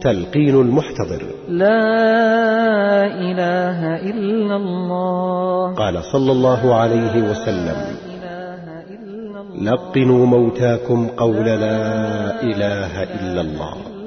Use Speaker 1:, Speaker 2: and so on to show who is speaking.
Speaker 1: تلقين المحتضر
Speaker 2: لا إله إلا الله
Speaker 1: قال صلى الله عليه وسلم
Speaker 2: لا إله إلا الله
Speaker 1: لقنوا موتاكم قول لا إله إلا الله